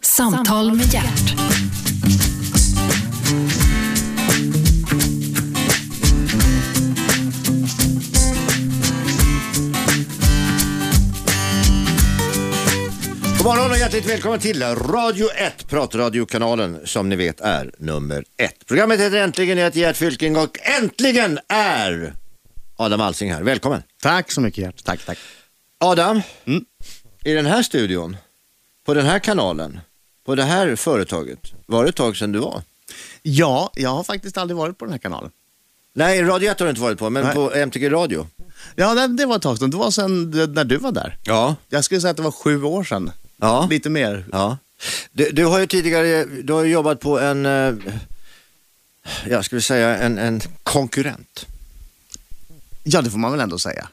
Samtal med hjärt. God morgon och hjärtligt välkommen till Radio 1, pratradiokanalen som ni vet är nummer ett. Programmet heter Äntligen, jag heter Gert Fylking och äntligen är Adam Alsing här. Välkommen! Tack så mycket Gert. Tack, tack. Adam, i den här studion, på den här kanalen, på det här företaget, var det ett tag sedan du var? Ja, jag har faktiskt aldrig varit på den här kanalen. Nej, Radio 1 har du inte varit på, men Nej. på MTG Radio. Ja, det, det var ett tag sedan. Det var sedan d- när du var där. Ja. Jag skulle säga att det var sju år sedan. Ja. Lite mer. Ja. Du, du har ju tidigare du har ju jobbat på en, eh, jag skulle säga en, en konkurrent. Ja, det får man väl ändå säga.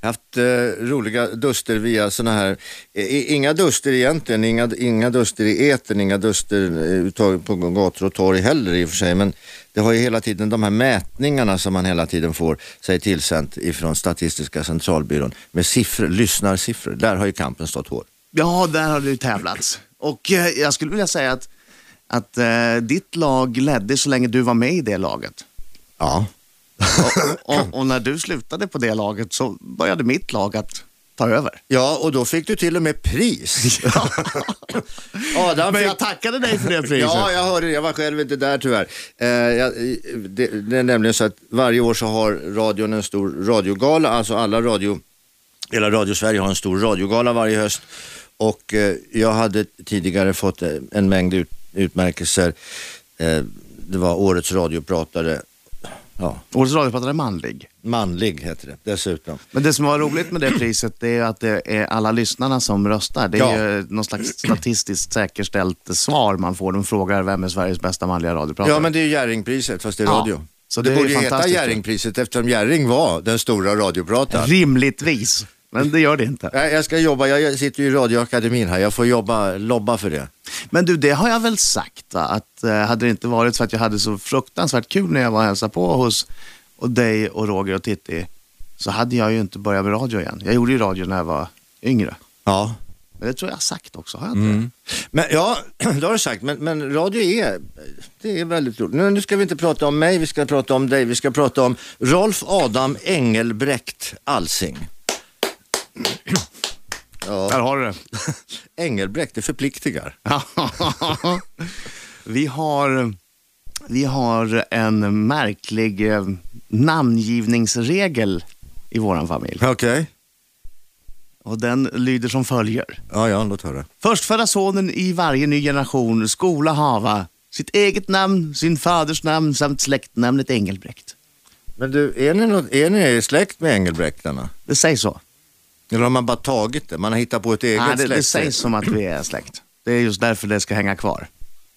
Jag har haft eh, roliga duster via sådana här, i, i- inga duster egentligen, inga, inga duster i etern, inga duster eh, uttaget på gator och torg heller i och för sig. Men det har ju hela tiden de här mätningarna som man hela tiden får sig tillsänt ifrån Statistiska centralbyrån med siffror, lyssnarsiffror. Där har ju kampen stått hård. Ja, där har du tävlats. Och eh, jag skulle vilja säga att, att eh, ditt lag ledde så länge du var med i det laget. Ja. Och, och, och när du slutade på det laget så började mitt lag att ta över. Ja, och då fick du till och med pris. Adam Men fick- jag tackade dig för det priset. Ja, jag hörde det. Jag var själv inte där tyvärr. Eh, jag, det, det är nämligen så att varje år så har radion en stor radiogala, alltså alla radio, hela Radio Sverige har en stor radiogala varje höst. Och eh, jag hade tidigare fått eh, en mängd ut, utmärkelser. Eh, det var årets radiopratare, ja, Årets radiopratare är manlig. manlig heter det dessutom. Men det som var roligt med det priset det är att det är alla lyssnarna som röstar. Det är Ja. ju någon slags statistiskt säkerställt svar man får. De frågar vem är Sveriges bästa manliga radiopratare. Ja, men det är ju Jerringpriset fast det är Ja, radio. så Så det det, är borde ju heta fantastiskt. Jerringpriset eftersom Jerring var den stora radioprataren. Rimligtvis, men det gör det inte. Nej, jag ska jobba, jag sitter ju i radioakademin här, jag får jobba, lobba för det. Men du, det har jag väl sagt va? att eh, hade det inte varit för att jag hade så fruktansvärt kul när jag var och hälsade på hos och dig och Roger och Titti så hade jag ju inte börjat med radio igen. Jag gjorde ju radio när jag var yngre. Ja. Men det tror jag jag har sagt också, har jag inte Mm. det? Men, ja, det har du sagt, men, men radio är, det är väldigt roligt. Nu, nu ska vi inte prata om mig, vi ska prata om dig, vi ska prata om Rolf Adam Engelbrekt Alsing. Där har du det. Engelbrekt, det förpliktigar. vi, har, vi har en märklig eh, namngivningsregel i vår familj. Okej. Och den lyder som följer. Ja, ja, låt höra. Förstfödda sonen i varje ny generation skola hava sitt eget namn, sin faders namn samt släktnamnet Engelbrekt. Men du, är ni, något, är ni släkt med Engelbrektarna? Det sägs så. Eller har man bara tagit det? Man har hittat på ett eget Nej, det, släkt? det sägs som att vi är släkt. Det är just därför det ska hänga kvar.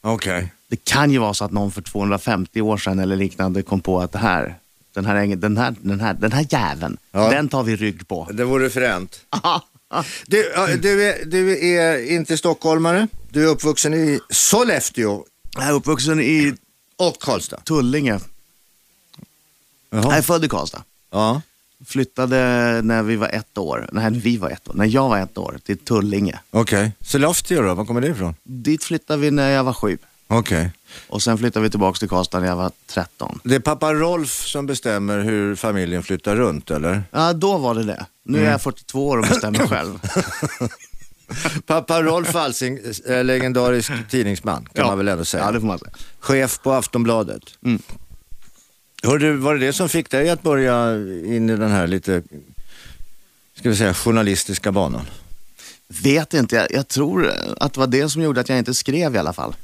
Okej. Det kan ju vara så att någon för 250 år sedan eller liknande kom på att det här, den här, ängen- den här, den här, den här jäveln, Ja. den tar vi rygg på. Det vore fränt. Du, ja, du, är, du är inte stockholmare. Du är uppvuxen i Sollefteå Jag är uppvuxen i och Karlstad. Tullinge. Jag är Nej, född i Karlstad. Ja. Flyttade när vi var ett år, nej vi var ett år, när jag var ett år till Tullinge. Okej. Sollefteå då, var kommer det ifrån? Dit flyttade vi när jag var sju Okej. och sen flyttade vi tillbaka till Karlstad när jag var 13. Det är pappa Rolf som bestämmer hur familjen flyttar runt, eller? Ja, då var det det. Nu Mm. är jag 42 år och bestämmer själv. Pappa Rolf Alsing, eh, legendarisk tidningsman kan man väl ändå säga. Ja, det får man säga. Chef på Aftonbladet. Mm. Hör du, var det det som fick dig att börja in i den här lite, ska vi säga, journalistiska banan? Vet inte, jag, jag tror att det var det som gjorde att jag inte skrev i alla fall.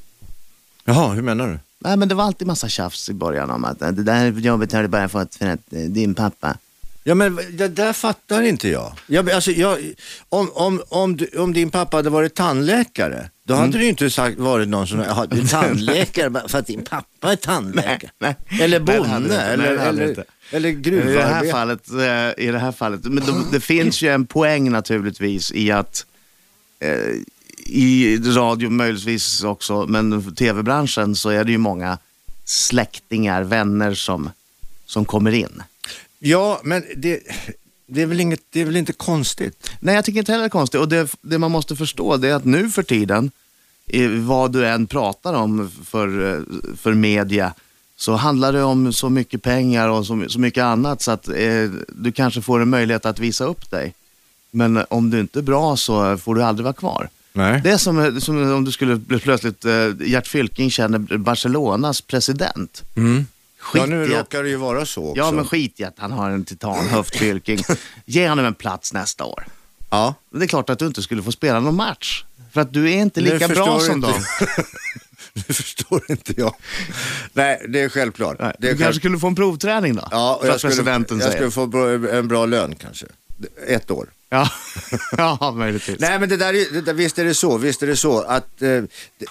Jaha, hur menar du? Nej, men det var alltid massa tjafs i början om att eh, det där jobbet har du bara fått för att eh, din pappa... Ja men det där fattar inte jag. jag, alltså, jag om, om, om, du, om din pappa hade varit tandläkare, då Mm. hade det ju inte sagt, varit någon som, "Jaha, du är tandläkare bara för att din pappa är tandläkare. Nej, nej. Eller Nej, det hade bonde, det inte. Nej, eller, det hade det eller, inte. eller I det här gruvarbetare. fallet, eh, i det här fallet. Men de, det finns ju en poäng naturligtvis i att eh, i radio möjligtvis också, men tv-branschen så är det ju många släktingar, vänner som, som kommer in. Ja, men det, det, är väl inget, det är väl inte konstigt? Nej, jag tycker inte heller det är konstigt. Och det, det man måste förstå det är att nu för tiden eh, vad du än pratar om för, eh, för media så handlar det om så mycket pengar och så, my- så mycket annat så att eh, du kanske får en möjlighet att visa upp dig. Men om du inte är bra så får du aldrig vara kvar. Nej. Det är som, som om du skulle bli plötsligt, eh, Gert Fylking känner Barcelonas president. Mm. Skit Ja, nu i att- råkar det ju vara så också. Ja, men skit i att han har en titanhöft Fylking. Ge honom en plats nästa år. Ja. Det är klart att du inte skulle få spela någon match. För att du är inte Nu lika bra förstår som inte- dem. det förstår inte jag. Nej, det är självklart. Nej, det Du är kanske självklart. skulle få en provträning då? Ja, och för jag att skulle, presidenten jag säger. skulle få bra- en bra lön kanske. Ett år. Ja. ja, möjligtvis. Nej men det där, är- det där, visst är det så, visst är det så att eh,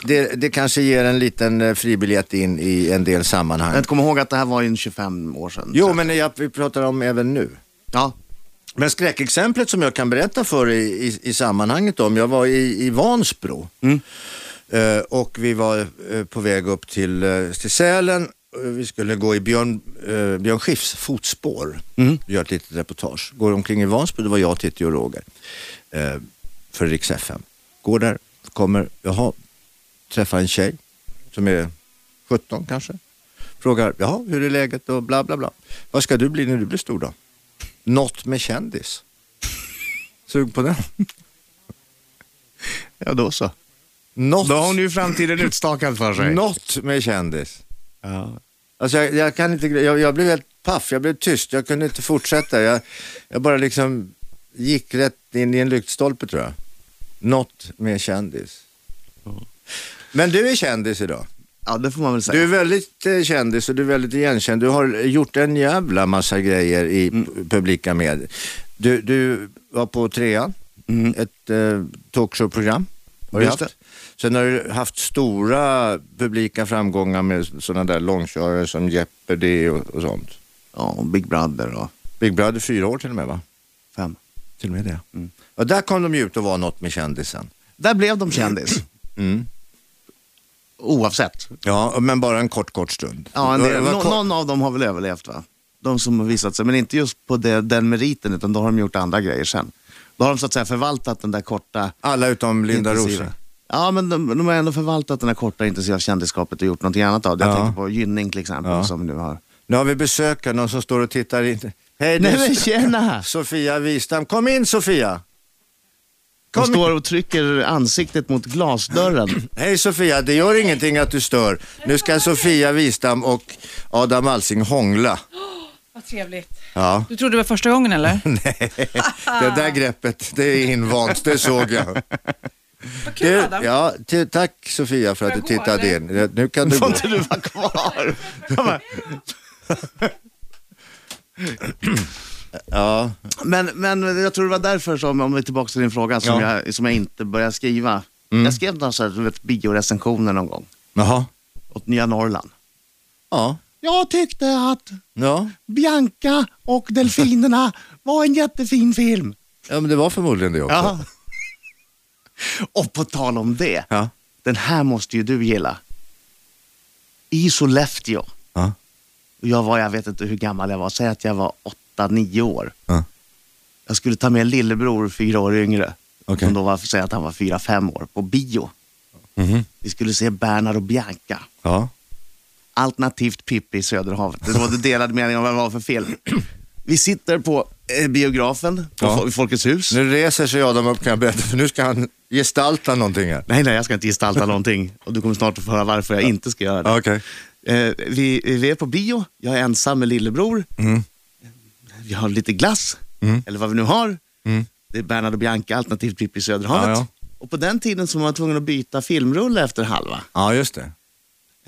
det, det kanske ger en liten eh, fribiljett in i en del sammanhang. Jag kommer ihåg att det här var ju 25 år sedan. Jo men jag, vi pratar om även nu. Ja, Men skräckexemplet som jag kan berätta för i, i, i sammanhanget om, jag var i, i Vansbro eh, och vi var eh, på väg upp till, eh, till Sälen. Eh, Vi skulle gå i Björn, eh, Björn Skifs fotspår, gör ett litet reportage. Går omkring i Vansbro, det var jag, Titti och Roger eh, för Rix FM. Går där, kommer, jaha, träffar en tjej som är 17 kanske. Frågar, jaha, hur är läget och bla bla bla. Vad ska du bli när du blir stor då? Något med kändis. Sug på den. ja då så. Något, Då har hon ju framtiden utstakad för sig. något med kändis. Ja. Alltså jag, jag kan inte, jag, jag blev helt paff, jag blev tyst, jag kunde inte fortsätta. Jag, jag bara liksom gick rätt in i en lyktstolpe tror jag. Något med kändis. Men du är kändis idag. ja, det får man väl säga. Du är väldigt eh, kändis och du är väldigt igenkänd. Du har gjort en jävla massa grejer i Mm. p- publika medier. Du, du var på trean, ett eh, talkshow-program. Har du Mm. Just haft. Sen har du haft stora publika framgångar med sådana där långkörare som Jeopardy och, och sånt. Ja, och Big Brother och Big Brother fyra år till och med va? fem. Till och med det. Och där kom de ju ut och var något med kändisen. Där blev de kändis. Mm. Oavsett. Ja, men bara en kort, kort stund. Ja, en Det del, var nå- kort- någon av dem har väl överlevt va? De som har visat sig, men inte just på det, den meriten utan då har de gjort andra grejer sen. Då har de så att säga förvaltat den där korta Alla utom Linda intensiva- Rosing. Ja, men de, de har ändå förvaltat den här korta intensiva kändisskapet och gjort någonting annat av det. Jag Ja. tänker på Gynning till exempel Ja. som nu har... Nu har vi besök här, någon som står och tittar in. Hej, det är Nej men tjena! Sofia Wistam. Kom in Sofia! De Kom in. står och trycker ansiktet mot glasdörren. Hej Sofia, det gör ingenting att du stör. Nu ska Sofia Wistam och Adam Alsing hångla. Vad trevligt. Ja, Du trodde det var första gången eller? det där greppet, det är invant, det såg jag. Vad kul Du, Adam. ja, t- tack Sofia för att Får du jag gå, tittade eller? in. Nu kan du Får gå. inte du vara kvar? Jag bara- Ja, Men, men jag tror det var därför, som, om vi är tillbaka till din fråga, som, Ja. Mm. jag, som jag inte började skriva. Jag skrev några så här, du vet, biorecensioner någon gång, jaha. åt Nya Norrland. Ja, Jag tyckte att ja. Bianca och delfinerna var en jättefin film. ja men det var förmodligen det också. Ja. Och på tal om det, Ja. den här måste ju du gilla. I Sollefteå, och Ja. jag var, jag vet inte hur gammal jag var, säg att jag var 8-9 år. Ja. Jag skulle ta med lillebror, fyra år yngre, Okej. som då var, säg att han var fyra fem år, på bio. Mhm. Vi skulle se Bernhard och Bianca, ja. alternativt Pippi i Söderhavet. Det rådde delad mening om vad det var för film. Vi sitter på eh, biografen, på Ja. Fol- Folkets hus. Nu reser sig Adam upp kan jag berätta, för nu ska han gestalta någonting här. Nej, nej, jag ska inte gestalta någonting och du kommer snart att få höra varför jag inte ska göra det. Ja, Okej. Eh, vi, vi är på bio, jag är ensam med lillebror. Mm. Vi har lite glass, eller vad vi nu har. Det är Bernhard och Bianca, alternativt Pippi i Söderhavet. Mm. Ja, Och på den tiden så var man tvungen att byta filmrulle efter halva. Ja, just det.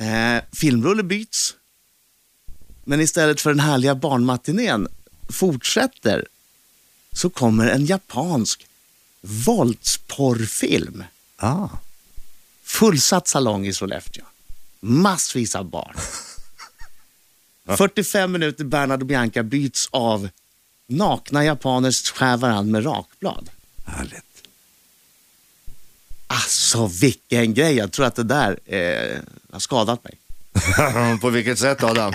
Eh, filmrulle byts, men istället för den härliga barnmatinén fortsätter så kommer en japansk våldsporrfilm. Ah. Fullsatt salong i Sollefteå. Massvis av barn. 45 minuter Bernhard och Bianca byts av nakna japaner skär varandra med rakblad. Härligt. Alltså vilken grej. Jag tror att det där eh, har skadat mig. på vilket sätt Adam?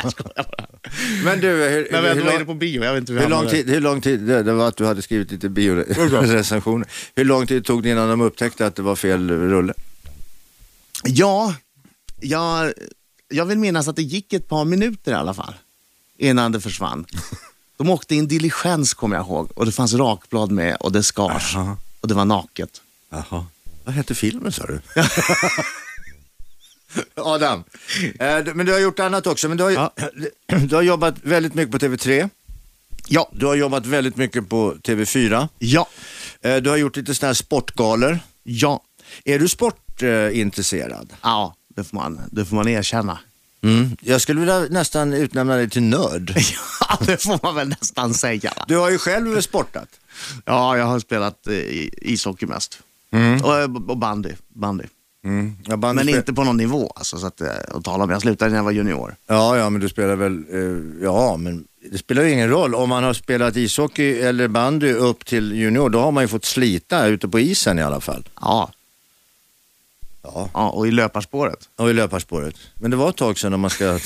Men du, hur, Men jag hur, var inne lång, på bio. Jag vet inte hur, hur jag lång hamnade. tid, hur lång tid det, det var att du hade skrivit lite biorecensioner. Hur lång tid tog det innan de upptäckte att det var fel rulle? Ja, jag, jag vill minnas att det gick ett par minuter i alla fall innan det försvann. De åkte i en diligens kommer jag ihåg och det fanns rakblad med och det skars Aha. och det var naket. Jaha. Vad hette filmen sa du? Adam, eh, du- men du har gjort annat också. Men du, har, Ja. du har jobbat väldigt mycket på TV3. Ja, Du har jobbat väldigt mycket på TV4. ja, Eh, Du har gjort lite sådana här sportgalor. ja, Är du sportintresserad? ja, det får man, det får man erkänna. Mm. Jag skulle vilja nästan utnämna dig till nörd. Ja, det får man väl nästan säga. va? Du har ju själv sportat. Ja, jag har spelat eh, ishockey mest. Mm. Och, och bandy, bandy. Ja, bandy Men spel- inte på någon nivå alltså, så att, eh, att tala om. Jag slutade när jag var junior. Ja, ja, men du spelar väl... eh, ja, men det spelar ju ingen roll. Om man har spelat ishockey eller bandy upp till junior, då har man ju fått slita ute på isen i alla fall. Ja, Ja. ja och i löparspåret. Och i löparspåret. Men det var ett tag sedan om man ska...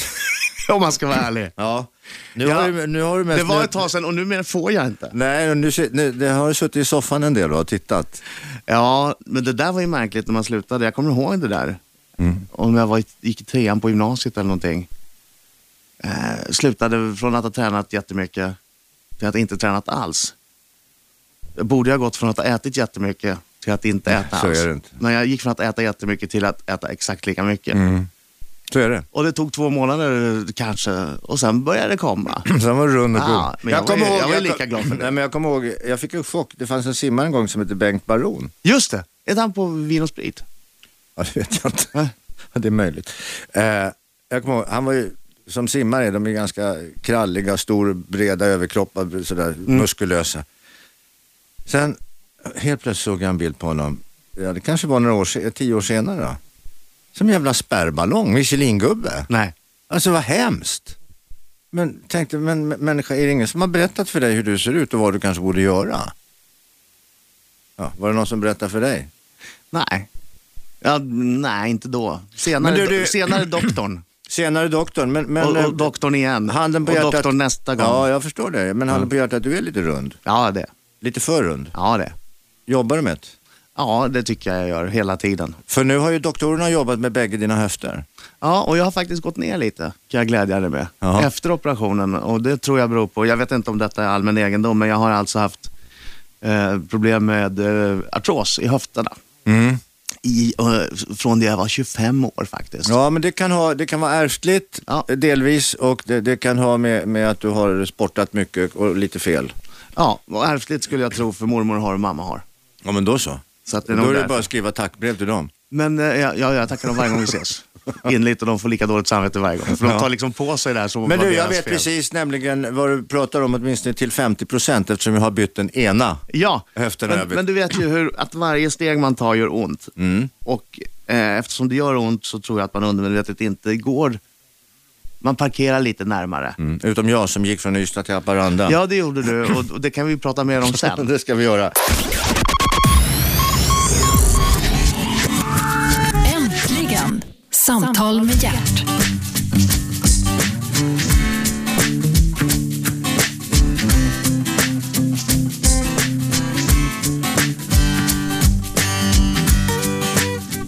Om man ska vara ärlig. Ja. Nu, Ja. Har, du, nu har du mest... Det var nu- ett tag sedan och numera får jag inte. Nej, och nu, sit- nu det har du suttit i soffan en del och tittat. Ja, men det där var ju märkligt när man slutade. Jag kommer ihåg det där. Mm. Om jag var, i- gick i trean på gymnasiet eller någonting. Eh, slutade från att ha tränat jättemycket till att inte tränat alls. Jag borde ha gått från att ha ätit jättemycket till att inte äta så alls. är det inte. Men jag gick från att äta jättemycket till att äta exakt lika mycket. Mm. Så är det. Och det tog två månader kanske och sen började det komma. Sen var du rund och god. Ah, men jag var ju- jag var ju lika glad för det. Nej, men jag kommer ihåg, jag fick en chock. Det fanns en simmare en gång som hette Bengt Baron. Just det, ett han på Vin och Sprit. Ja, det vet jag inte. Nej. Ja, det är möjligt. Eh, jag kommer ihåg, han var ju, som simmare, de är ganska kralliga, stor, breda överkroppar, sådär Mm. muskulösa. Sen helt plötsligt såg jag en bild på honom, ja, det kanske var några år, se- tio år senare då. Som en jävla spärrballong, Michelingubbe. Nej. Alltså vad hemskt. Men tänkte, men men- människa, är det ingen som har berättat för dig hur du ser ut och vad du kanske borde göra? Ja, var det någon som berättade för dig? Nej. Ja, nej, inte då. Senare, Men du, du- senare doktorn. Senare doktorn, men... men eh, och, och doktorn igen. Handen på och hjärtat. doktorn nästa gång. Ja, Ja, jag förstår det. Men handen på hjärtat, du är lite rund. det. Lite för rund. Ja, det. Jobbar du med det? Ja, det tycker jag jag gör hela tiden. För nu har ju doktorerna jobbat med bägge dina höfter. Ja, och jag har faktiskt gått ner lite, kan jag glädja dig med. Jaha. Efter operationen, och det tror jag beror på, jag vet inte om detta är allmän egendom, men jag har alltså haft eh, problem med eh, artros i höfterna. Mm. I, eh, från det jag var 25 år faktiskt. Ja, men det kan, ha, det kan vara ärftligt Ja. eh, delvis och det, det kan ha med, med att du har sportat mycket och lite fel. Ja, och ärftligt skulle jag tro, för mormor har och mamma har. Ja, men då så. Så att det Då är nog är det därför. bara att skriva tackbrev till dem. Men eh, ja, ja, jag tackar dem varje gång vi ses. Inligt och de får lika dåligt samvete varje gång. För de tar liksom på sig det här som om Men det var du, jag deras vet fel. precis nämligen vad du pratar om, åtminstone till 50 procent eftersom jag har bytt den ena. Ja, Höften men, över. Mm. men du vet ju hur att varje steg man tar gör ont. Och eh, eftersom det gör ont så tror jag att man undermedvetet inte går... Man parkerar lite närmare. Mm. Utom jag som gick från Ystad till Haparanda. Ja, det gjorde du och, och det kan vi prata mer om sen. Det ska vi göra. Äntligen! Samtal med hjärt.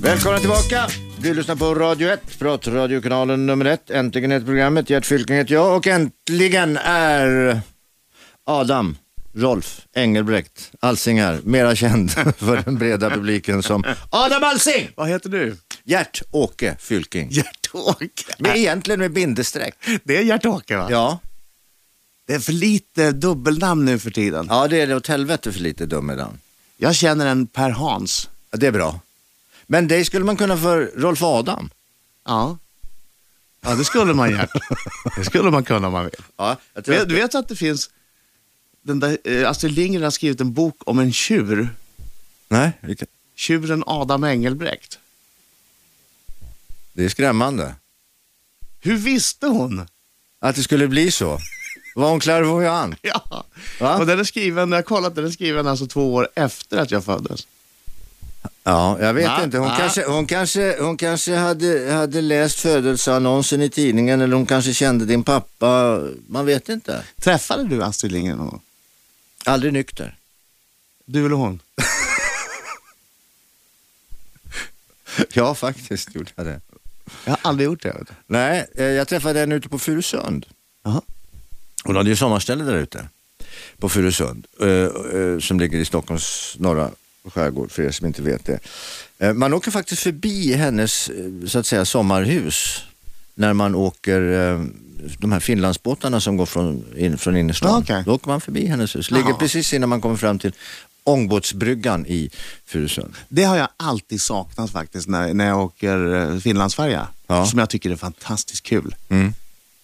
Välkomna tillbaka! Du lyssnar på Radio 1, pratradiokanalen nummer 1. Äntligen ett programmet. Gert Fylking heter jag och äntligen är Adam Rolf Engelbrekt Alsingar, mera känd för den breda publiken som Adam Alsing! Vad heter du? Gert Åke Fylking. Gert-Åke. Men egentligen med bindestreck. Det är Gert-Åke va? Ja. Det är för lite dubbelnamn nu för tiden. ja, det är det åt helvete för lite dummedan. Jag känner en Per Hans. Ja, det är bra. Men dig skulle man kunna för Rolf Adam. Ja. Ja, det skulle man Gert. Det skulle man kunna om man vill. Ja, jag tror Vet- att... Du vet att det finns, den där, eh, Astrid Lindgren har skrivit en bok om en tjur. Nej, vilka- Tjuren Adam Engelbrekt. det är skrämmande. Hur visste hon? Att det skulle bli så. Var hon clairvoyant? Ja. Va? Och den är skriven, jag har kollat, den är skriven alltså två år efter att jag föddes. Ja, jag vet Va? inte. Hon Va? kanske, hon kanske, hon kanske hade, hade läst födelseannonsen i tidningen eller hon kanske kände din pappa. Man vet inte. Träffade du Astrid Lindgren någon gång? Aldrig nykter. Du eller hon? Ja, faktiskt gjorde jag det. Jag har aldrig gjort det. Vet du. Nej, eh, jag träffade en ute på Furusund. Jaha. Hon hade ju sommarställe där ute på Furusund eh, eh, som ligger i Stockholms norra skärgård för er som inte vet det. Eh, Man åker faktiskt förbi hennes eh, så att säga sommarhus när man åker eh, de här Finlandsbåtarna som går från, in, från Ja, innerstan. okej. Då åker man förbi hennes hus. Ligger Jaha. precis innan man kommer fram till ångbåtsbryggan i Furusund. Det har jag alltid saknat faktiskt när, när jag åker eh, Finlandsfärja. Ja. Som jag tycker är fantastiskt kul. Mm.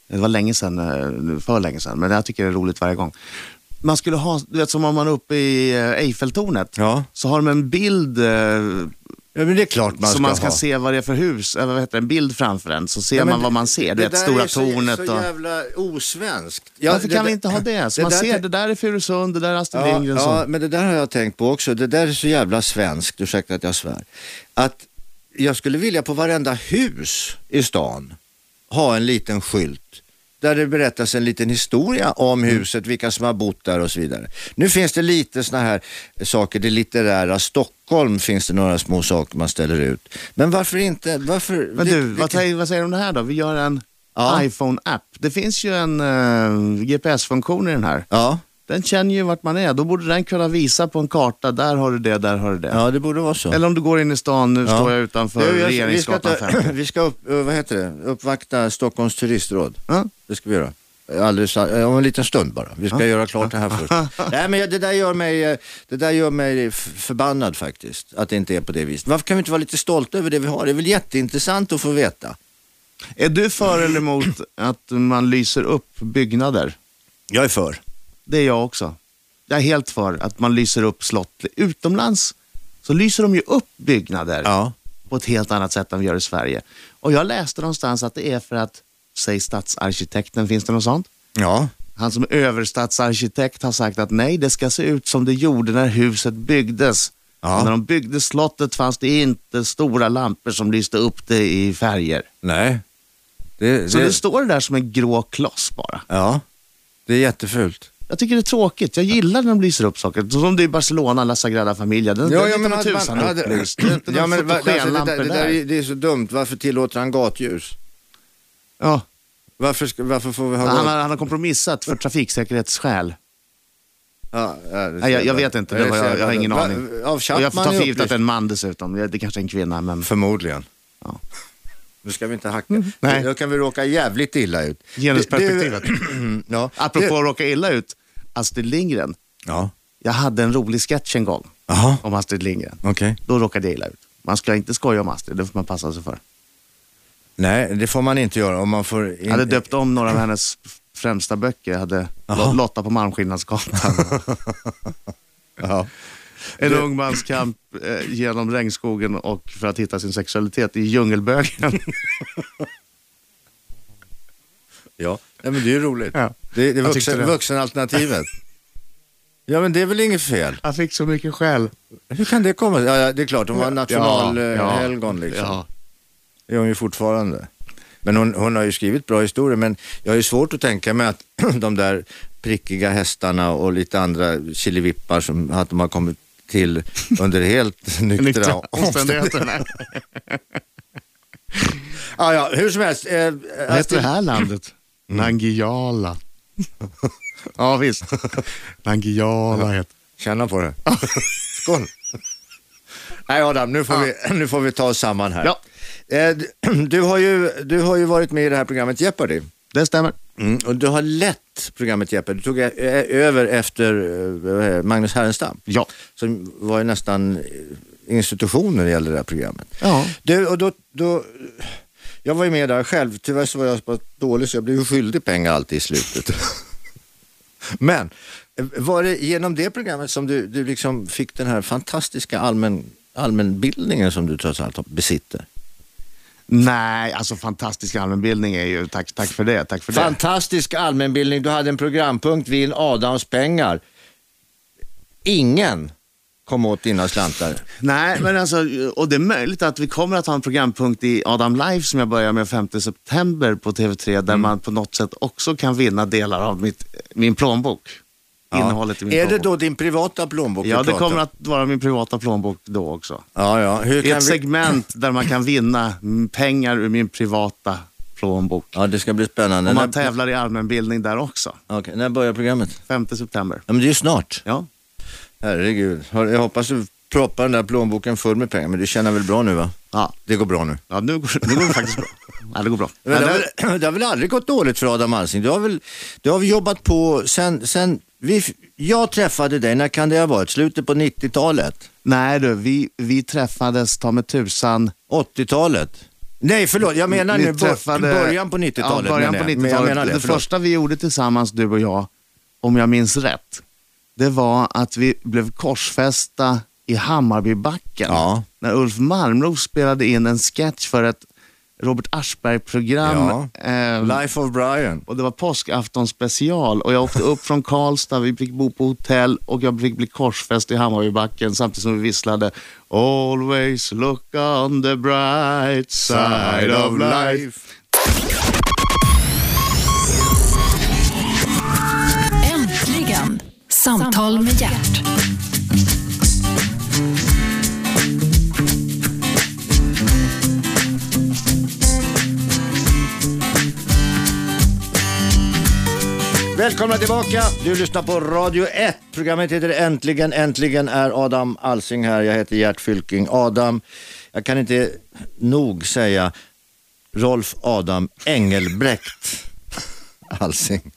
Det var länge sedan, eh, för länge sedan, men jag tycker det är roligt varje gång. Man skulle ha, du vet som om man är uppe i eh, Eiffeltornet, Ja. så har de en bild eh, Ja, men det är klart man så ska man ska ha. se vad det är för hus, eller vad heter det, en bild framför en, så ser Ja, men man vad man ser. Du vet, där stora är så, tornet så och... jävla osvenskt. Ja, Varför det kan vi där- inte ha det? Så det man där ser, tänk- det där är Furusund, det där är Astrid Ja, Lindgren. ja, så. men det där har jag tänkt på också. Det där är så jävla svenskt, ursäkta att jag svär. Att jag skulle vilja på varenda hus i stan ha en liten skylt där det berättas en liten historia om Mm. huset, vilka som har bott där och så vidare. Nu finns det lite såna här saker, det litterära Stockholm finns det några små saker man ställer ut. Men varför inte? Varför, Men vil- du, vad vilken- säger, vad säger du om det här då? Vi gör en Ja. iPhone-app. Det finns ju en eh, GPS-funktion i den här. ja, Den känner ju vart man är. Då borde den kunna visa på en karta, där har du det, där har du det. ja, det borde vara så. Eller om du går in i stan, nu Ja. står jag utanför Du, jag- vi ska, Regeringsgatan ta, 50. vi ska upp, eh, vad heter det? uppvakta Stockholms turistråd. Ja. Det ska vi göra. Alldeles, eh, om en liten stund bara. Vi ska göra klart det här först. Nej, men jag- det där gör mig, eh, det där gör mig f- förbannad faktiskt. Att det inte är på det viset. Varför kan vi inte vara lite stolta över det vi har? Det är väl jätteintressant att få veta. Är du för eller emot att man lyser upp byggnader? Jag är för. Det är jag också. Jag är helt för att man lyser upp slott. Utomlands så lyser de ju upp byggnader Ja. på ett helt annat sätt än vi gör i Sverige. Och jag läste någonstans att det är för att, säg stadsarkitekten, finns det något sånt? Ja. Han som är överstadsarkitekt har sagt att nej, det ska se ut som det gjorde när huset byggdes. Ja. Och När de byggde slottet fanns det inte stora lampor som lyste upp det i färger. Nej. Det, Så det står det där som en grå kloss bara. ja. Det är jättefult. Jag tycker det är tråkigt. Jag gillar när de lyser upp saker. Som det är i Barcelona, La Sagrada Familia. Den, den är inte med hade man- tusan hade- upplyst. Det är inte ja, några men, va- alltså, det, fotogenlampor där, det, där, där. är- det är så dumt. Varför tillåter han gatljus? Ja. Varför, ska, varför får vi ha Han, gat- har, han har kompromissat för trafiksäkerhetsskäl. Ja, ja, det ser Nej, jag, jag vet inte, det ser var, jag, jag har ingen Va- aning. Av Och jag får Chapman ta är för givet att upplyst. det är en man dessutom. Det det kanske är en kvinna, men... Förmodligen. Ja. Mm, Nu ska vi inte hacka. Nej. Då kan vi råka jävligt illa ut. Genusperspektivet. Det- det- ja. Apropå Det, att råka illa ut, Astrid Lindgren. ja. Jag hade en rolig sketch en gång Jaha, om Astrid Lindgren. okej. Då råkade jag illa ut. Man ska inte skoja om Astrid, det får man passa sig för. Nej, det får man inte göra. Om man får in... Jag hade döpt om några av hennes främsta böcker. Jag hade Jaha. Lotta på Malmskillnadsgatan. Ja. En ung mans kamp eh, genom regnskogen och för att hitta sin sexualitet i djungelbögen. ja. Nej, men det är ju roligt. Ja. Det, det är Jag tyckte vuxen, det. vuxenalternativet. ja, men det är väl inget fel. Jag fick så mycket skäll. Hur kan det komma sig? ja, ja, Det är klart, hon var nationalhelgon liksom. Ja. Det är hon ju fortfarande. Men hon, hon har ju skrivit bra historier, men jag har ju svårt att tänka mig att de där prickiga hästarna och lite andra killevippar som att de har kommit till under helt nyktra Nyktra omständigheter. omständigheter. Ja, ja, hur som helst. Eh, Vad heter det här landet? Nangijala. Mm. ja visst. Nangijala heter Känna på det. Skål. Nej Adam, nu får, vi, nu får vi ta oss samman här. Ja. Eh, d- du, har ju, du har ju varit med i det här programmet Jeopardy. Det stämmer. Mm, och du har lett programmet Jeopardy. Du tog ö- ö- över efter eh, Magnus Härenstam. Ja. som var ju nästan eh, institution när det gällde det här programmet. Ja. Du, och då, då, jag var ju med där själv, tyvärr så var jag så pass dålig så jag blev ju skyldig pengar alltid i slutet. Men eh, var det genom det programmet som du, du liksom fick den här fantastiska allmän, allmänbildningen som du trots allt besitter? Nej, alltså fantastisk allmänbildning är ju, tack, tack för det, tack för det. Fantastisk allmänbildning, du hade en programpunkt, Vinn Adams pengar. Ingen kom åt dina slantar. Nej, men alltså, och det är möjligt att vi kommer att ha en programpunkt i Adam Live som jag börjar med 5 Mm. september på TV3 där man på något sätt också kan vinna delar av mitt, min plånbok. innehållet i min Är det plånbok. då din privata plånbok Ja, vi det pratar kommer om? att vara min privata plånbok då också. Ja, ja. Hur I kan ett vi... segment där man kan vinna mm, pengar ur min privata plånbok. Ja, det ska bli spännande. Och man när... tävlar i allmänbildning där också. Okej, när börjar programmet? 5 september. Ja, men det är ju snart. Ja. Herregud. Hör, Jag hoppas du proppar den där plånboken full med pengar, men du känner väl bra nu va? Ja. Det går bra nu. Ja, nu går, nu går det faktiskt bra. Ja, det går bra. Men Men det, har det, väl, det har väl aldrig gått dåligt för Adam Alsing? Du har väl du har väl jobbat på sen, sen vi, f- jag träffade dig, när kan det ha varit? Slutet på 90-talet? nej du, vi, vi träffades, ta med tusan, 80-talet? Nej, förlåt, jag menar Ni nu bör, början på 90-talet. Ja, början menar på jag. Men jag 90-talet. menar det det, förlåt. första vi gjorde tillsammans, du och jag, om jag minns rätt, det var att vi blev korsfästa i Hammarbybacken. Ja. När Ulf Malmros spelade in en sketch för ett Robert Aschberg-program. eh, Life of Brian. och det var påskafton special och jag åkte upp från Karlstad, vi fick bo på hotell och jag fick bli korsfäst i Hammarbybacken samtidigt som vi visslade Always look on the bright side of life. Äntligen! Samtal med hjärt. Välkomna tillbaka! Du lyssnar på Radio 1. Programmet heter Äntligen. Äntligen är Adam Alsing här. Jag heter Gert Fylking. Adam, jag kan inte nog säga Rolf Adam Engelbrekt Alsing.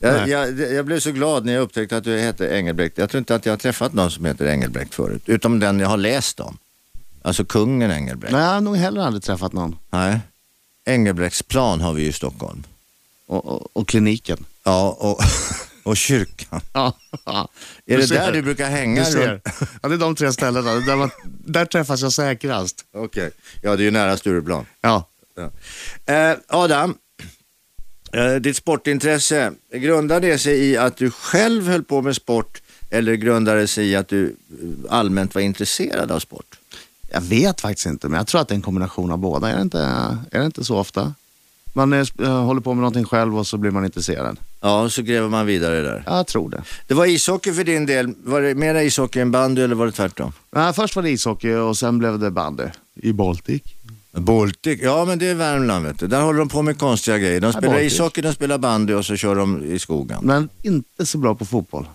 Jag, jag, jag blev så glad när jag upptäckte att du hette Engelbrekt. Jag tror inte att jag har träffat någon som heter Engelbrekt förut, utom den jag har läst om. Alltså kungen Engelbrekt. Nej, jag har nog heller aldrig träffat någon. Nej. Engelbrektsplan har vi ju i Stockholm. Och, och, och kliniken. Ja, och, och kyrkan. Ja. Är Du det ser. där du brukar hänga? Du ser. runt? Ja, det är de tre ställena. Där, man, där träffas jag säkrast. Okej, ja det är ju nära Stureplan. Ja. Ja. Eh, Adam, eh, ditt sportintresse, grundar det sig i att du själv höll på med sport eller grundar det sig i att du eh, allmänt var intresserad av sport? Jag vet faktiskt inte, men jag tror att det är en kombination av båda. Är det inte, är det inte så ofta? Man är, eh, håller på med någonting själv och så blir man intresserad. Ja, så gräver man vidare där. Jag tror det. Det var ishockey för din del, var det mera ishockey än bandy eller var det tvärtom? Nej, först var det ishockey och sen blev det bandy. I Baltic? Baltic, ja men det är Värmland vet du. Där håller de på med konstiga grejer. De spelar Baltic. ishockey, de spelar bandy och så kör de i skogen. Men inte så bra på fotboll.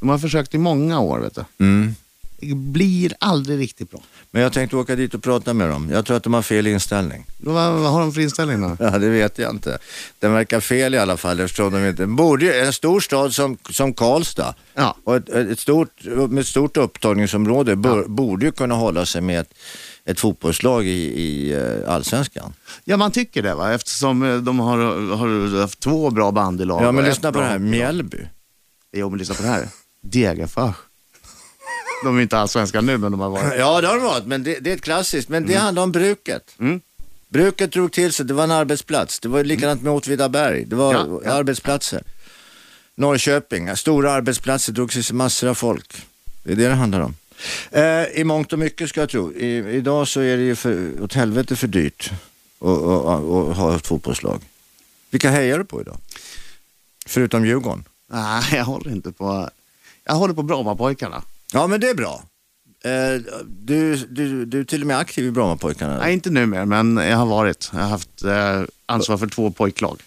De har försökt i många år, vet du. Mm. Det blir aldrig riktigt bra. Men jag tänkte åka dit och prata med dem. Jag tror att de har fel inställning. Vad, vad har de för inställning då? Ja, det vet jag inte. Den verkar fel i alla fall eftersom de inte... Borde, ju- en stor stad som, som Karlstad Ja. och ett, ett stort, med ett stort upptagningsområde bör, borde ju kunna hålla sig med ett, ett fotbollslag i, i eh, allsvenskan. Ja, man tycker det va? Eftersom eh, de har, har haft två bra bandylag. Ja, men och ett lyssna på bra- det här. Mjällby. Jo, men lyssna på det här. Degerfors. De är inte alls svenska nu, men de har varit. Ja, det har de varit, men det, det är ett klassiskt. Men det handlar om bruket. Mm. Bruket drog till sig, det var en arbetsplats. Det var likadant med Åtvidaberg, det var Mm. Ja, ja. arbetsplatser. Norrköping, stora arbetsplatser, drog till sig massor av folk. Det är det det handlar om. Eh, I mångt och mycket ska jag tro. I, idag så är det ju för, åt helvete för dyrt att- att att- att ha ett fotbollslag. Vilka hejar du på idag? Förutom Djurgården? Nej, jag håller inte på... Jag håller på Brommapojkarna. Ja men det är bra. Eh, du, du, du är till och med aktiv i Brommapojkarna? eller? Nej, inte nu mer, men jag har varit. Jag har haft eh, ansvar för två pojklag.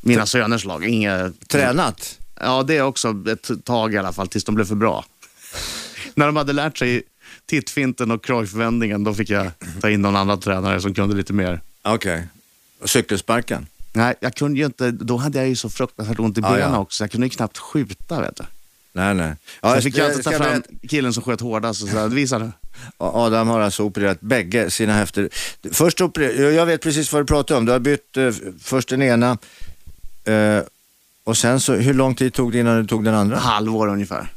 Mina söners lag. Inga... Tränat? Ja, det är också ett tag i alla fall, tills de blev för bra. När de hade lärt sig tittfinten och Cruyff-vändningen, då fick jag ta in någon annan tränare som kunde lite mer. Mm. Okej. Och Cykelsparken? Nej, jag kunde ju inte, då hade jag ju så fruktansvärt ont i Ja, benen ja. också. Jag kunde ju knappt skjuta vet du. Nej, nej. Ja, Ja, jag fick ju alltid ta ska jag fram berätta? killen som sköt hårdast och sådär, visa det. Adam har alltså opererat bägge sina höfter. Först opererade, jag vet precis vad du pratar om. Du har bytt eh, först den ena eh, och sen så, hur lång tid tog det innan du tog den andra? Halvår ungefär.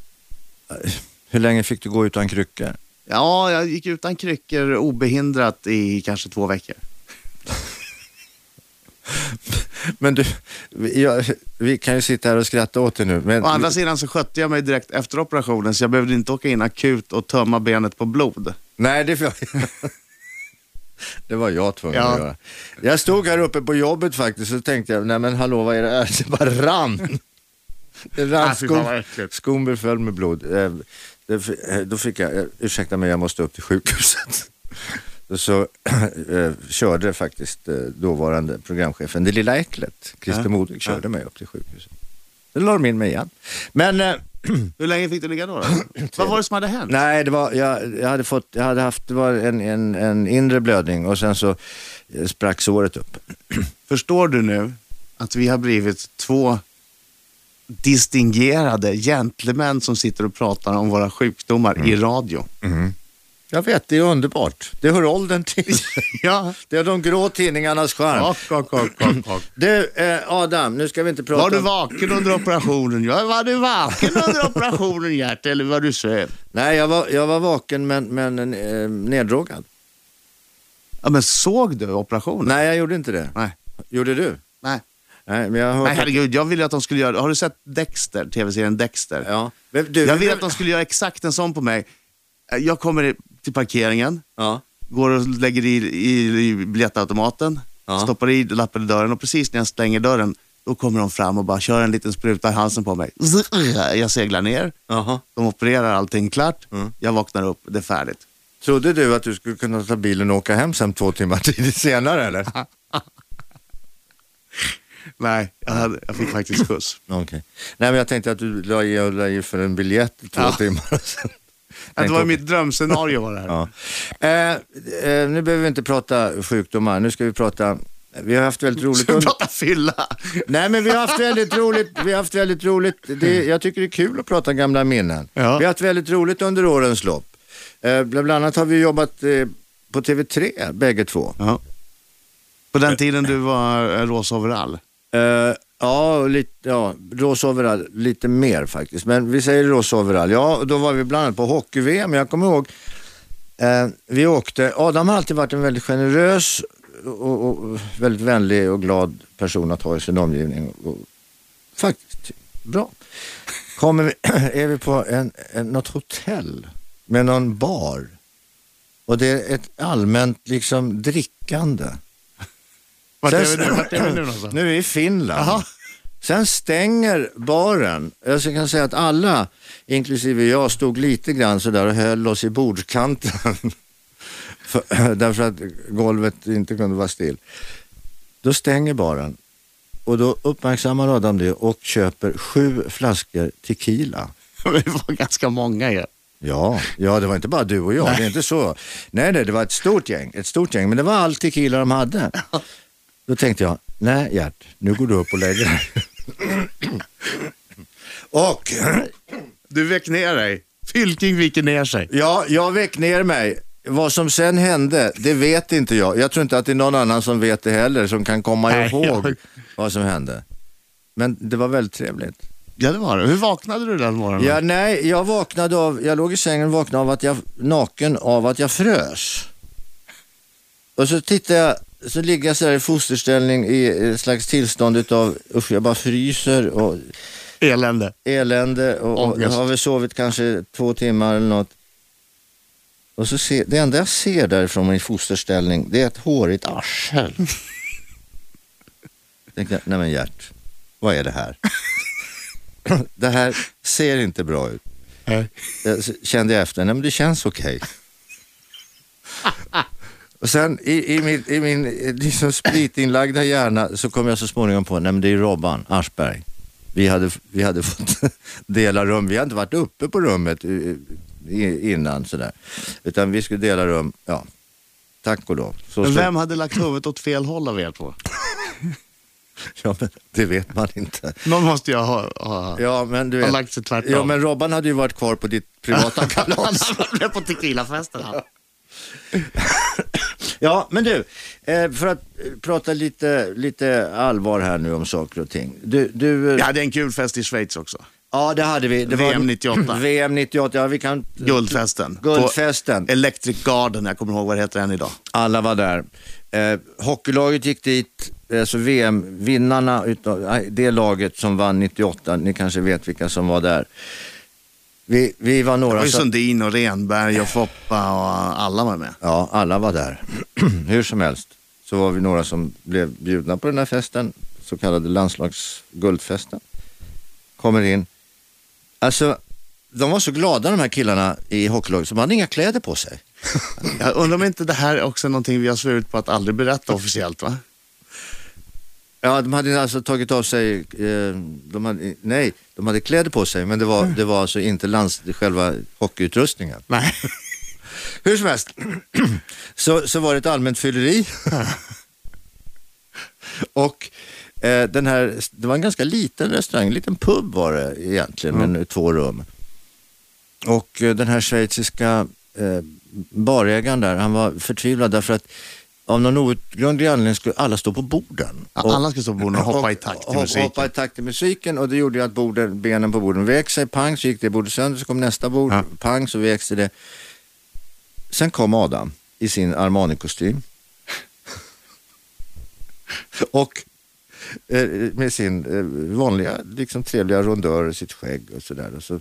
Hur länge fick du gå utan kryckor? Ja, jag gick utan kryckor obehindrat i kanske två veckor. Men du, vi- jag, vi kan ju sitta här och skratta åt det nu. Men, Å andra sidan så skötte jag mig direkt efter operationen så jag behövde inte åka in akut och tömma benet på blod. Nej, det var, det var jag tvungen Ja. att göra. Jag stod här uppe på jobbet faktiskt och tänkte, jag, nej men hallå vad är det här? Det bara rann. En Ah, fy fan, vad randskum- äckligt. Skon beföll med blod. Eh, det f- eh, Då fick jag, eh, ursäkta mig jag måste upp till sjukhuset. Och Så eh, körde faktiskt eh, dåvarande programchefen, det lilla äcklet, Christer Ja. Modig, körde mig upp till sjukhuset. Då la de in mig igen. Men eh, Hur länge fick du ligga då? då? Vad var det som hade hänt? Nej, det var, jag, jag hade fått, jag hade haft, det var en, en, en inre blödning och sen så eh, sprack såret upp. Förstår du nu att vi har blivit två distingerade gentlemän som sitter och pratar om våra sjukdomar Mm. i radio? Jag vet, det är underbart. Det hör åldern till. Ja. Det är de grå tidningarnas charm. Och, och, och, och, och. Du, eh, Adam, nu ska vi inte prata Var du om- vaken under operationen? Ja, var du vaken under operationen Gert, eller var du söv? Nej, jag var, jag var vaken men, men eh, neddrogad. Ja, men såg du operationen? Nej, jag gjorde inte det. Nej. Gjorde du? Nej. Nej, men jag har hört... Nej, herregud, jag ville ju att de skulle göra... Har du sett Dexter, tv-serien Dexter? ja. Vem- du, Jag ville att de skulle göra exakt en sån på mig. Eh, Jag kommer till parkeringen, Ja. går och lägger i, i, i biljettautomaten, Ja. stoppar i lappen i dörren och precis när jag stänger dörren, då kommer de fram och bara kör en liten spruta i halsen på mig. Jag seglar ner, Jaha. de opererar allting klart, Mm. jag vaknar upp, det är färdigt. Trodde du att du skulle kunna ta bilen och åka hem sen två timmar tidigt senare eller? Nej, jag, hade, jag fick faktiskt skjuts. Okej. Nej, men jag tänkte att du la i, la i för en biljett i två Ja. timmar. och sen- Det var mitt drömscenario var det här. Ja. Eh, eh, nu behöver vi inte prata sjukdomar, nu ska vi prata... Vi har haft väldigt roligt... Ska vi under- prata fylla? Nej men vi har haft väldigt roligt, vi har haft väldigt roligt. Det, jag tycker det är kul att prata gamla minnen. Ja. Vi har haft väldigt roligt under årens lopp. Eh, bland annat har vi jobbat eh, på TV3 bägge två. Ja. På den tiden du var eh, rosa overall? Eh, ja, och lite, ja, rosa overall, lite mer faktiskt. Men vi säger rosa overall. Ja, och då var vi bland annat på hockey-VM. Jag kommer ihåg, eh, vi åkte, Adam har alltid varit en väldigt generös och, och, och väldigt vänlig och glad person att ha i sin omgivning. Och, och, faktiskt, bra. Kommer vi, är vi på en, en, något hotell med någon bar och det är ett allmänt liksom drickande. Vart Sen- är vi nu, Vart är vi nu någonstans? Nu är vi i Finland. Jaha. Sen stänger baren. Jag ska- kan säga att alla, inklusive jag, stod lite grann sådär och höll oss i bordskanten. För, därför att golvet inte kunde vara still. Då stänger baren. Och då uppmärksammar Adam det och köper sju flaskor tequila. Vi var ganska många ju. Ja, ja, det var inte bara du och jag, det är inte så. Nej, nej, det var ett stort gäng, ett stort gäng, men det var all tequila de hade. Då tänkte jag, nej Gert, nu går du upp och lägger dig. Och Du väck ner dig. Fylking viker ner sig. ja, jag väck ner mig. Vad som sen hände, det vet inte jag. Jag tror inte att det är någon annan som vet det heller, som kan komma Nej, ihåg jag- vad som hände. Men det var väldigt trevligt. Ja, det var det. Hur vaknade du den morgonen? Ja, nej, jag vaknade av, jag låg i sängen och vaknade av att jag, naken av att jag frös. Och så tittade jag, så ligger jag så här i fosterställning i ett slags tillstånd utav, usch jag bara fryser och Elände. elände och, och jag Ångest. har väl sovit kanske två timmar eller något. Och så ser, det enda jag ser därifrån min fosterställning, det är ett hårigt arsel. Tänkte jag, nej men Gert, vad är det här? det här ser inte bra ut. Nej. Jag s- kände jag efter, nej men det känns okej. Och sen i, i min, i min eh, liksom spritinlagda hjärna så kom jag så småningom på, nej men det är ju Robban Aschberg. Vi hade, vi hade fått dela rum, vi hade inte varit uppe på rummet eh, i- innan sådär. Utan vi skulle dela rum, ja. Tack och lov. Så Men så- vem hade lagt huvudet åt fel håll av er två? Ja, men det vet man inte. Någon måste jag ha. ha. Ja, men du Han vet. lagt sig tvärtom. Ja, men Robban hade ju varit kvar på ditt privata kalas. Han blev på tequilafesten. han. Ja, men du, eh, för att eh, prata lite, lite allvar här nu om saker och ting. Du, du, eh, Jag ja. hade en kul fest i Schweiz också. det hade vi. Det VM 98. VM 98, ja vi kan... Guldfesten. Guldfesten. På Electric Garden, jag kommer ihåg vad det heter än idag. Alla var där. Eh, hockeylaget gick dit, alltså VM-vinnarna utav nej, det laget som vann 98, ni kanske vet vilka som var där. Vi, vi var Det några var ju som- Sundin och Renberg och Foppa och alla var med. Ja, alla var där. Hur som helst så var vi några som blev bjudna på den här festen, så kallade landslagsguldfesten. kommer in. Alltså, de var så glada de här killarna i hockeylaget, så de hade inga kläder på sig. Jag undrar om inte det här är också någonting vi har svurit på att aldrig berätta officiellt va? Ja, de hade alltså tagit av sig, eh, de hade, nej, de hade kläder på sig, men det var, det var alltså inte lands, själva hockeyutrustningen. Nej. Hur som helst, så, så var det ett allmänt fylleri. Och eh, den här, det var en ganska liten restaurang, en liten pub var det egentligen, men två rum. Och eh, den här schweiziska eh, barägaren där, han var förtvivlad därför att av någon outgrundlig anledning skulle alla stå på borden. Ja, Och- alla ska stå på borden och hoppa i takt till hop- musiken. Hoppa i takt till musiken och det gjorde ju att borden, benen på borden vek sig, pang så gick det bordet sönder, så kom nästa bord, Ja. pang så vek sig det. Sen kom Adam i sin Armani-kostym. och eh, med sin eh, vanliga, liksom trevliga rondör, sitt skägg och sådär. Och så,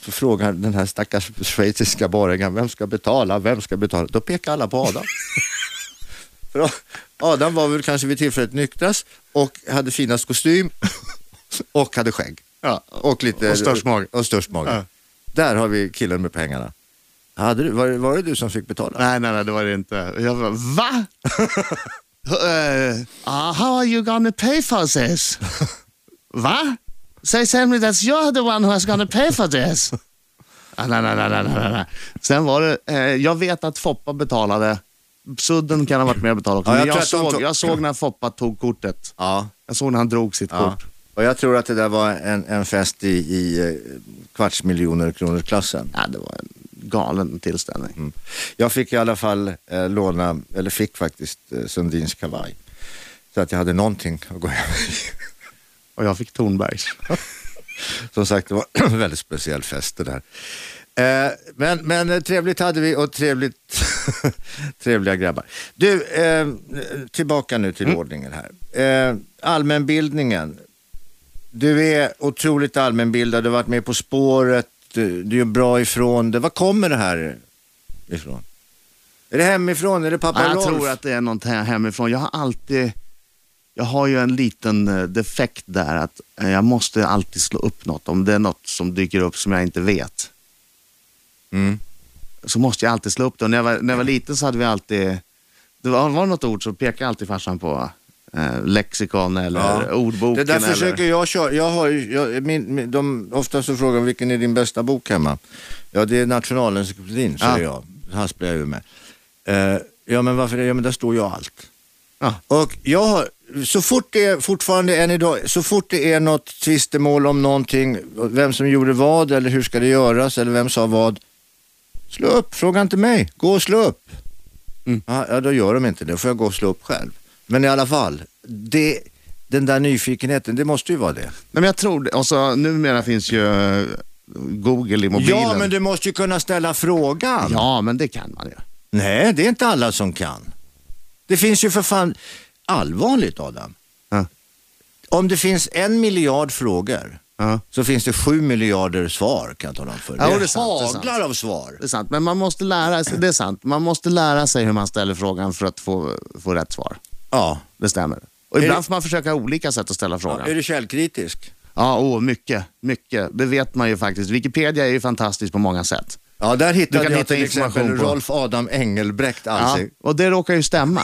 så frågar den här stackars schweiziska barägaren, vem ska betala, vem ska betala? Då pekar alla på Adam. För Adam var väl kanske vid tillfället nyktrast och hade finast kostym och hade skägg. Ja. Och, lite, Och störst mage. Och störst mage. Ja. Där har vi killen med pengarna. Hade du, var, det- var det du som fick betala? Nej, nej, nej, det var det inte. Jag bara, va? Eh, ah, how are you gonna pay for this? va? Say tell me that you're the one who's gonna pay for this. Ah, nej, nej, nej, nej, nej, nej. Sen var det, eh, jag vet att Foppa betalade. Sudden kan ha varit med och betalat också. Ja, men jag jag, tror att de såg, tog- jag såg när Foppa tog kortet. Ja. Jag såg när han drog sitt ja. kort. Och jag tror att det där var en, en fest i, i eh, kvartsmiljoner kronor klassen. Ja, det var en galen tillställning. Mm. Jag fick i alla fall eh, låna, eller fick faktiskt eh, Sundins kavaj. Så att jag hade någonting att gå hem i. Och jag fick Tornbergs. Som sagt, det var en väldigt speciell fest det där. Eh, men, men eh, trevligt hade vi och trevligt, trevliga grabbar. Du, eh, tillbaka nu till Mm. ordningen här. Eh, allmänbildningen. Du är otroligt allmänbildad, du har varit med På spåret, du, du är bra ifrån det. Var kommer det här ifrån? Är det hemifrån? Är det pappa Ja, jag Rolf? tror att det är något här hemifrån. Jag har alltid, jag har ju en liten eh, defekt där att eh, jag måste alltid slå upp något. Om det är något som dyker upp som jag inte vet Mm. så måste jag alltid slå upp det. Och när jag var, när jag var liten så hade vi alltid, det var, var det något ord så pekade alltid farsan på eh, lexikon eller Ja. ordboken. Det där eller, försöker jag köra. Jag har, ju- jag, min, min, de, ofta så frågar de vilken är din bästa bok hemma. Ja, det är Nationalencyklopedin, säger Ja. jag. Hasplar jag ur mig. Eh, ja, men varför det? Ja, men där står ju allt. Ja. Och jag har, så fort det är, fortfarande än idag, så fort det är något tvistemål om någonting, vem som gjorde vad eller hur ska det göras eller vem sa vad, slå upp, fråga inte mig, gå och slå upp. Mm. Ja, ja, då gör de inte det, då får jag gå och slå upp själv. Men i alla fall, det, den där nyfikenheten, det måste ju vara det. Nej, men jag tror det. Och så numera finns ju eh, Google i mobilen. Ja, men du måste ju kunna ställa frågan. ja, men det kan man ju. Nej, det är inte alla som kan. Det finns ju för fan, allvarligt Adam, Ja. om det finns en miljard frågor Ja. så finns det sju miljarder svar kan jag tala om för dig. Ja, det, det är sant, det är sant. haglar av svar. Det är sant, men man måste lära sig, det är sant. Man måste lära sig hur man ställer frågan för att få, få rätt svar. Ja. Det stämmer. Och Är ibland det- får man försöka olika sätt att ställa frågan. Är du källkritisk? Ja, åh, mycket, mycket. Det vet man ju faktiskt. Wikipedia är ju fantastiskt på många sätt. Ja, där hittade kan jag hitta till information exempel på- Rolf Adam Engelbrekt Ja, Alsing. och det råkar ju stämma.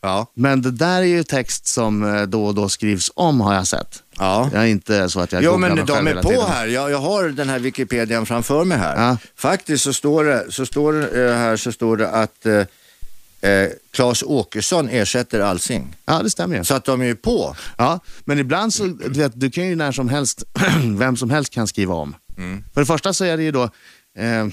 Ja. Men det där är ju text som eh, då och då skrivs om har jag sett. Ja. Jag är inte så att jag Jo googlar men mig själv de är hela på tiden. här. Jag, jag har den här Wikipedian framför mig här. Ja. Faktiskt så står det, så står det eh, här så står det att eh, eh, Claes Åkesson ersätter Alsing. Ja, det stämmer ju. Så att de är ju på. Ja, men ibland så, du vet, du kan ju när som helst, vem som helst kan skriva om. Mm. För det första så är det ju då, eh,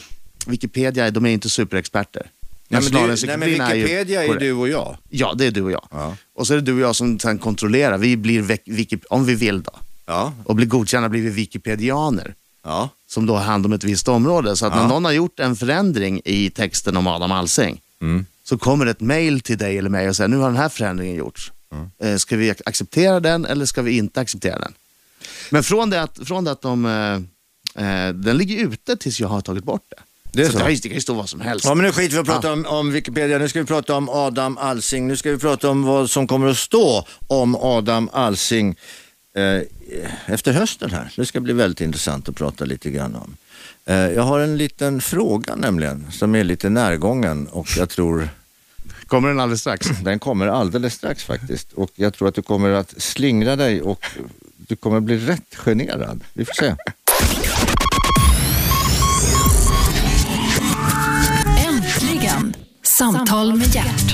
Wikipedia, de är inte superexperter. Nej men, du, nej, men Nationalencyklopedin är ju Wikipedia är ju korrekt. du och jag. Ja, det är du och jag. Ja. Och så är det du och jag som sen kontrollerar. Vi blir, vek- Wiki, om vi vill då, Ja. och blir godkända blir vi wikipedianer. Ja. Som då har hand om ett visst område. Så att Ja. när någon har gjort en förändring i texten om Adam Alsing, Mm. så kommer det ett mail till dig eller mig och säger, nu har den här förändringen gjorts. Mm. Eh, Ska vi ac- acceptera den eller ska vi inte acceptera den? Men från det att, från det att de, eh, eh, den ligger ute tills jag har tagit bort det. Det är så. det kan ju- det kan ju stå vad som helst. Ja men nu skiter vi att prata om, om Wikipedia, nu ska vi prata om Adam Alsing, nu ska vi prata om vad som kommer att stå om Adam Alsing eh, efter hösten här. Det ska bli väldigt intressant att prata lite grann om. Eh, jag har en liten fråga nämligen som är lite närgången och jag tror Kommer den alldeles strax? den kommer alldeles strax faktiskt. Och jag tror att du kommer att slingra dig och du kommer bli rätt generad. Vi får se. Äntligen! Samtal med hjärt.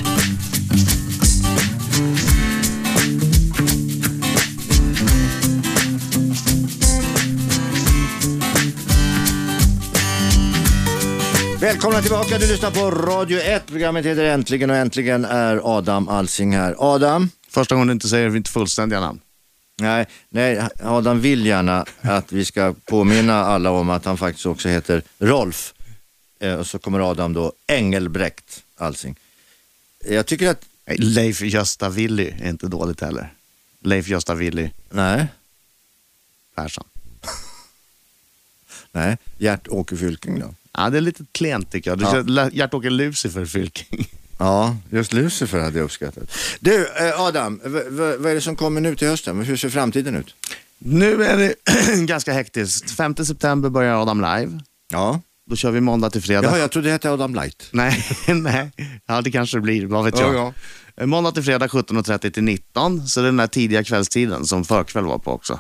Välkomna tillbaka, du lyssnar på Radio 1. Programmet heter Äntligen och äntligen är Adam Alsing här. Adam? Första gången du inte säger mitt fullständiga namn. Nej, nej, Adam vill gärna att vi ska påminna alla om att han faktiskt också heter Rolf. Eh, och så kommer Adam då Engelbrekt Alsing. Jag tycker att, Nej, Leif Gösta Willy är inte dåligt heller. Leif Gösta Willy nej, Persson. nej, Gert-Åke Fylking då. Ja, det är lite klent tycker jag. Du Ja. ja. Gert-Åke Lucifer Fylking. Ja, just Lucifer hade jag uppskattat. Du, eh, Adam, v- v- vad är det som kommer nu till hösten? Hur ser framtiden ut? Nu är det ganska hektiskt. 5 september börjar Adam live. Ja, Då kör vi måndag till fredag. Jaha, jag trodde det hette Adam Light. Nej, nej. Ja, det kanske det blir. Vad vet Ja, jag. Eh, Måndag till fredag 17.30 till 19. Så det är den där tidiga kvällstiden som förkväll var på också.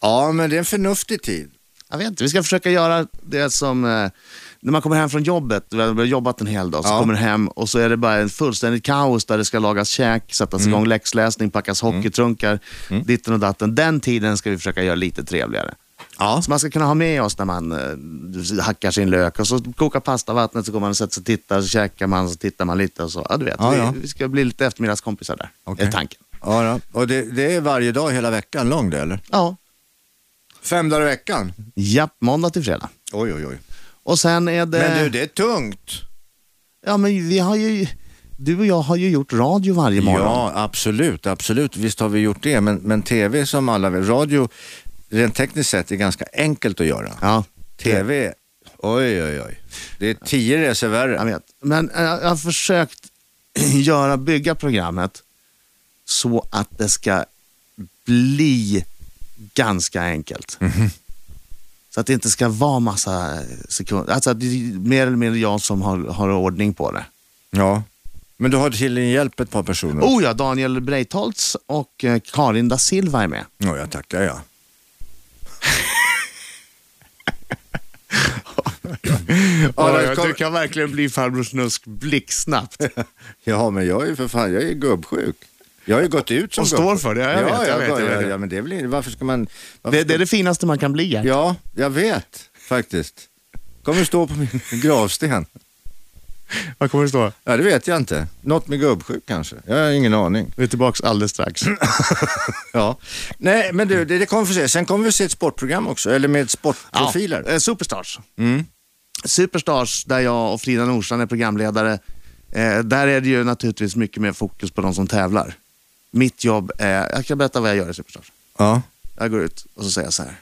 Ja, men det är en förnuftig tid. Jag vet inte, vi ska försöka göra det som, eh, när man kommer hem från jobbet, vi har jobbat en hel dag, så Ja. kommer hem och så är det bara en fullständigt kaos där det ska lagas käk, sättas Mm. igång läxläsning, packas hockeytrunkar, ditten och datten. Den tiden ska vi försöka göra lite trevligare. Ja. Så man ska kunna ha med oss när man eh, hackar sin lök och så kokar pastavattnet, så går man och sätter sig och tittar, så käkar man, så tittar man lite och så. Ja, du vet, Ja, vi, ja. vi ska bli lite eftermiddagskompisar där, Okej. är tanken. Ja, då. och det, det är varje dag hela veckan lång det, eller? Ja, Fem dagar i veckan? japp, måndag till fredag. Oj, oj, oj. Och sen är det... Men du, det är tungt. Ja, men vi har ju, du och jag har ju gjort radio varje morgon. Ja, absolut, absolut. Visst har vi gjort det, men, men tv som alla vet, radio rent tekniskt sett är ganska enkelt att göra. ja Tv, oj, oj, oj. Det är tio resor jag värre. vet. Men eh, jag har försökt göra, bygga programmet så att det ska bli ganska enkelt. Så att det inte ska vara massa sekunder. Alltså att det är mer eller mindre jag som har, har ordning på det. Ja. Men du har till din hjälp ett par personer. Oh ja, Daniel Breitholtz och eh, Karin da Silva är med. Ja, jag tackar ja. Ja, jag kom- Du kan verkligen bli farbror Snusk blixtsnabbt. Ja, men jag är ju för fan, jag är gubbsjuk. Jag har ju gått ut som Och står gubbsjuk. för det, ja, jag ja, vet, jag vet, jag ja, vet. Ja, men det är väl inte- varför ska man... Varför Det, det är det finaste man kan bli. Gert. Ja, jag vet faktiskt. Kommer stå på min gravsten. Vad kommer det stå? Ja, det vet jag inte. Något med gubbsjuk kanske. Jag har ingen aning. Vi är tillbaka alldeles strax. Ja. Nej, men du, det, det kommer vi se. Sen kommer vi se ett sportprogram också, eller med sportprofiler. eh, Superstars. Mm. Superstars, där jag och Frida Nordstrand är programledare. Eh, där är det ju naturligtvis mycket mer fokus på de som tävlar. Mitt jobb är, jag kan berätta vad jag gör i Superstars. Ja. Jag går ut och så säger jag så här.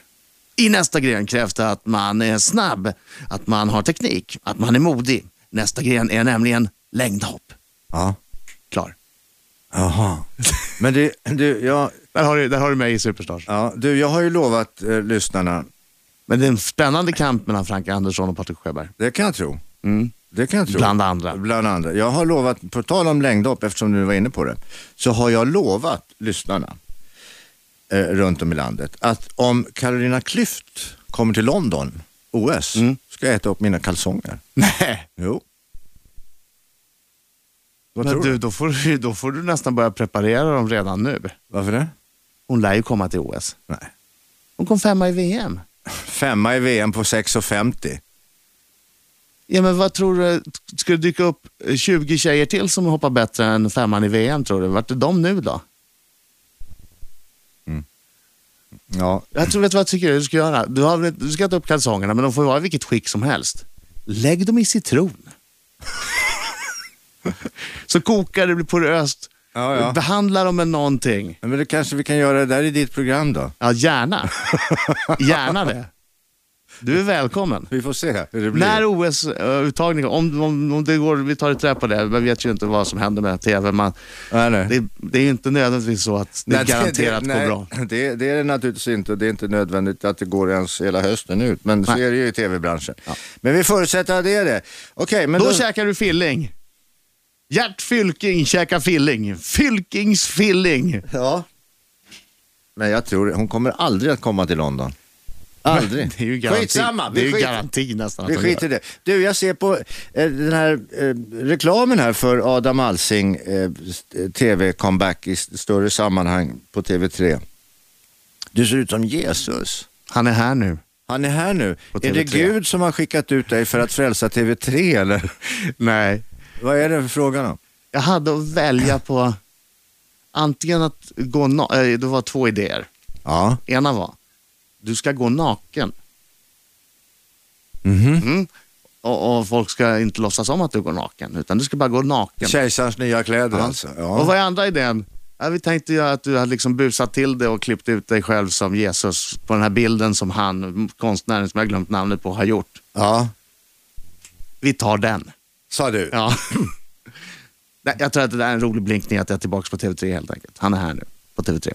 I nästa gren krävs det att man är snabb, att man har teknik, att man är modig. Nästa gren är nämligen längdhopp. Ja. Klar. Jaha. Men du, du, jag, Där har du, där har du mig i Superstars. ja, du, jag har ju lovat eh, lyssnarna, Men det är en spännande kamp mellan Frank Andersson och Patrik Sjöberg. det kan jag tro. Mm. Det kan jag tro. Bland andra. Bland andra. Jag har lovat, på tal om längdhopp, eftersom du var inne på det, så har jag lovat lyssnarna eh, runt om i landet att om Carolina Klüft kommer till London, OS, Mm. ska jag äta upp mina kalsonger. Nej. Jo. Vad Men tror du, du? då får, du- då får du nästan börja preparera dem redan nu. Varför det? Hon lär ju komma till OS. Nej. Hon kom femma i VM. Femma i VM på 6,50. Ja, men vad tror du, ska det dyka upp 20 tjejer till som hoppar bättre än femman i VM tror du? Vart är de nu då? Ja, Jag tror, vet du vad jag tycker du ska göra? Du, har, väl- du ska ta upp kalsongerna, men de får vara i vilket skick som helst. Lägg dem i citron. Så kokar det, blir poröst. Ja, ja. Behandla dem med någonting. men det kanske vi kan göra det där i ditt program då. Ja, gärna. Gärna det. Du är välkommen. Vi får se hur det blir. När OS-uttagningen, om, om, om det går, vi tar ett trä på det, man vet ju inte vad som händer med tv. Man, Nej, nej. det, det är ju inte nödvändigtvis så att det Nej, garanterat nej, går bra. Det, det är det naturligtvis inte och det är inte nödvändigt att det går ens hela hösten ut. Men så Nej. är det ju i tv-branschen. Men vi förutsätter att det är det. Okej, men Då, då... käkar du filling. Gert Fylking käkar filling. Fylkings filling. Ja. Men jag tror hon kommer aldrig att komma till London. Aldrig. Det är ju garanti, Skitsamma, det är vi, ju skiter, garanti nästan vi att de gör. skiter i det. Du, jag ser på eh, den här eh, reklamen här för Adam Alsing eh, st- eh, tv-comeback i st- större sammanhang på TV3. Du ser ut som Jesus. Han är här nu. Han är här nu. På Är det TV3. Gud som har skickat ut dig för att frälsa TV3 eller? Nej. Vad är det för frågan om? Jag hade att välja på antingen att gå na- eh, Det var två idéer. Ja. Ena var, du ska gå naken. Mhm. Mm. Och, och folk ska inte låtsas om att du går naken, utan du ska bara gå naken. Kejsarens nya kläder Ja. alltså. Och Ja. vad är andra idén? Ja, vi tänkte ju att du hade liksom busat till det och klippt ut dig själv som Jesus på den här bilden som han, konstnären som jag glömt namnet på, har gjort. ja, Vi tar den. sa du. Ja. Nej, jag tror att det där är en rolig blinkning att jag är tillbaka på TV3 helt enkelt. Han är här nu på TV3.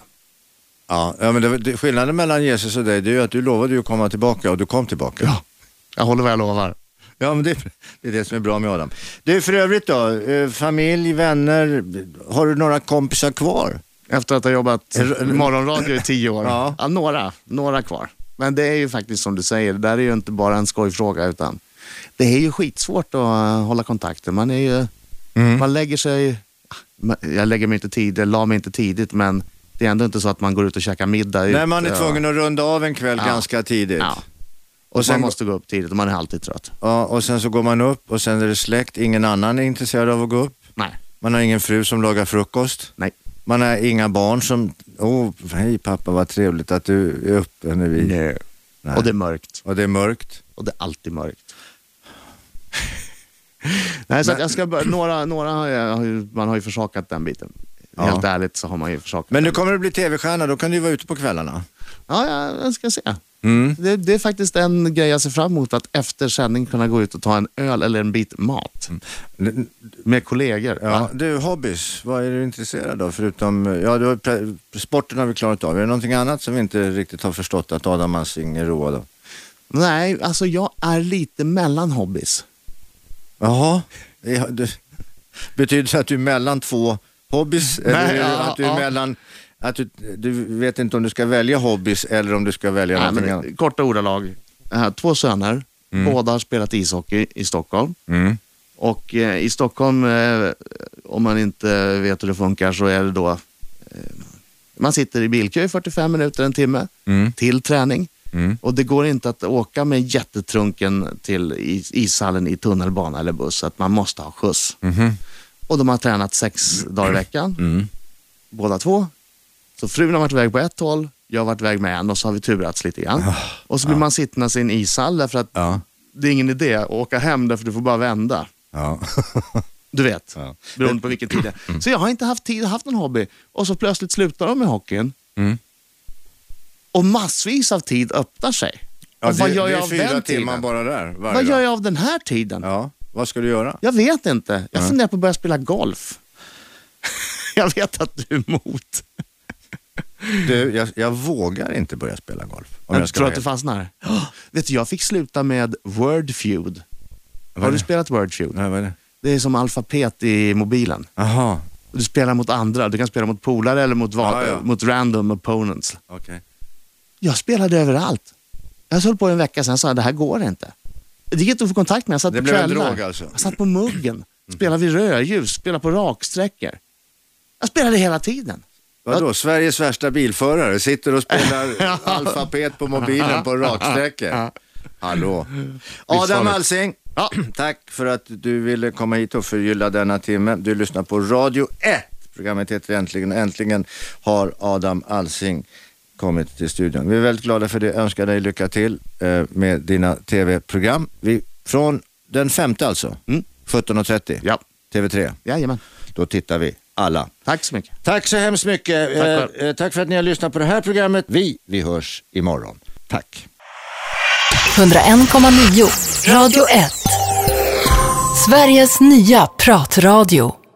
Ja, ja men det, det, skillnaden mellan Jesus och dig det är ju att du lovade ju att komma tillbaka och du kom tillbaka. Ja. Jag håller vad jag lovar. Ja, men det, det är det som är bra med Adam. Du, för övrigt då, eh, familj, vänner, har du några kompisar kvar? Efter att ha jobbat morgonradio i tio år. Ja. Ja. några, några kvar. Men det är ju faktiskt som du säger, det där är ju inte bara en skojfråga utan det är ju skitsvårt att eh, hålla kontakten. Man är ju, Mm. man lägger sig, man- jag lägger mig inte tidigt, jag la mig inte tidigt men det är ändå inte så att man går ut och käkar middag. Nej, man är ute, tvungen att runda av en kväll Ja. ganska tidigt. Ja. Och Och sen- man måste gå upp tidigt och man är alltid trött. Ja, och sen så går man upp och sen är det släkt, ingen annan är intresserad av att gå upp. Nej, Man har ingen fru som lagar frukost. nej. Man har inga barn som, åh, oh, hej pappa vad trevligt att du är uppe nu. i-" Nej. Och det är mörkt. Och det är mörkt. Och det är alltid mörkt. Nej, så att jag ska börja, några, några har jag, har ju- man har ju försakat den biten. Ja. Helt ärligt så har man ju försakat Men den. nu kommer du bli tv-stjärna, då kan du ju vara ute på kvällarna. Ja, ja, jag ska se. Mm. Det, det är faktiskt en grej jag ser fram emot, att efter sändning kunna gå ut och ta en öl eller en bit mat med kollegor. Ja, va? du, hobbys, vad är du intresserad av förutom, ja, du, har pre- sporten har vi klarat av. Är det någonting annat som vi inte riktigt har förstått att Adam Alsing är road av? Nej, alltså jag är lite mellan hobbys. Jaha, ja, du, betyder det att du är mellan två hobbys? eller Nej, ja, att du är ja. mellan, att du, du vet inte om du ska välja hobbys eller om du ska välja Nej, någonting men, annat? korta ordalag. Jag har två söner, båda har spelat ishockey i Stockholm. Mm. Och eh, i Stockholm, eh, om man inte vet hur det funkar, så är det då... Eh, man sitter i bilkö i 45 minuter, en timme, till träning. Och det går inte att åka med jättetrunken till is- ishallen i tunnelbana eller buss, så att man måste ha skjuts. Och de har tränat sex dagar i veckan, båda två. Så frun har varit iväg på ett håll, jag har varit iväg med en och så har vi turats lite grann. Och så blir man sittande i en ishall därför att Ja. det är ingen idé att åka hem därför du får bara vända. Ja. Du vet, Ja. beroende på vilken tid det är. Så jag har inte haft tid, haft någon hobby och så plötsligt slutar de med hockeyn. Mm. Och massvis av tid öppnar sig. Ja, och vad det, gör det jag är av fyra timmar den tiden? bara där varje Vad dag. gör jag av den här tiden? Ja, vad ska du göra? Jag vet inte. Jag Nej. funderar på att börja spela golf. jag vet att du är emot. Du, jag, jag vågar inte börja spela golf. Om Jag, jag, jag ska tror vara att du helt- fastnar. vet du, jag fick sluta med Word Feud. Vad är Har du det? spelat Word Feud? Nej, vad är det? Det är som alfabet i mobilen. Jaha, Du spelar mot andra. Du kan spela mot polare eller mot, va- Ja, ja. mot random opponents. okej. Jag spelade överallt. Jag höll på en vecka, sen sa jag det här går inte. Det gick inte att få kontakt med. Jag satt Det på blev en kvällar. drog alltså. Jag satt på muggen, spelade vid rödljus, spelade på raksträckor. Jag spelade hela tiden. Vadå, Sveriges värsta bilförare sitter och spelar alfabet på mobilen på raksträckor. Hallå. Adam farligt. Alsing, Ja. tack för att du ville komma hit och förgylla denna timme. Du lyssnar på Radio 1. Programmet heter Äntligen. Äntligen har Adam Alsing kommit till studion. Vi är väldigt glada för det. Önskar dig lycka till eh, med dina tv-program. Vi, från den femte alltså, Mm. 17.30, Ja. TV3. Jajamän. Då tittar vi alla. Tack så mycket. Tack så hemskt mycket. eh, Tack, själv. eh, tack för att ni har lyssnat på det här programmet. Vi, vi hörs imorgon. Tack. 101,9. Radio 1. Sveriges nya pratradio.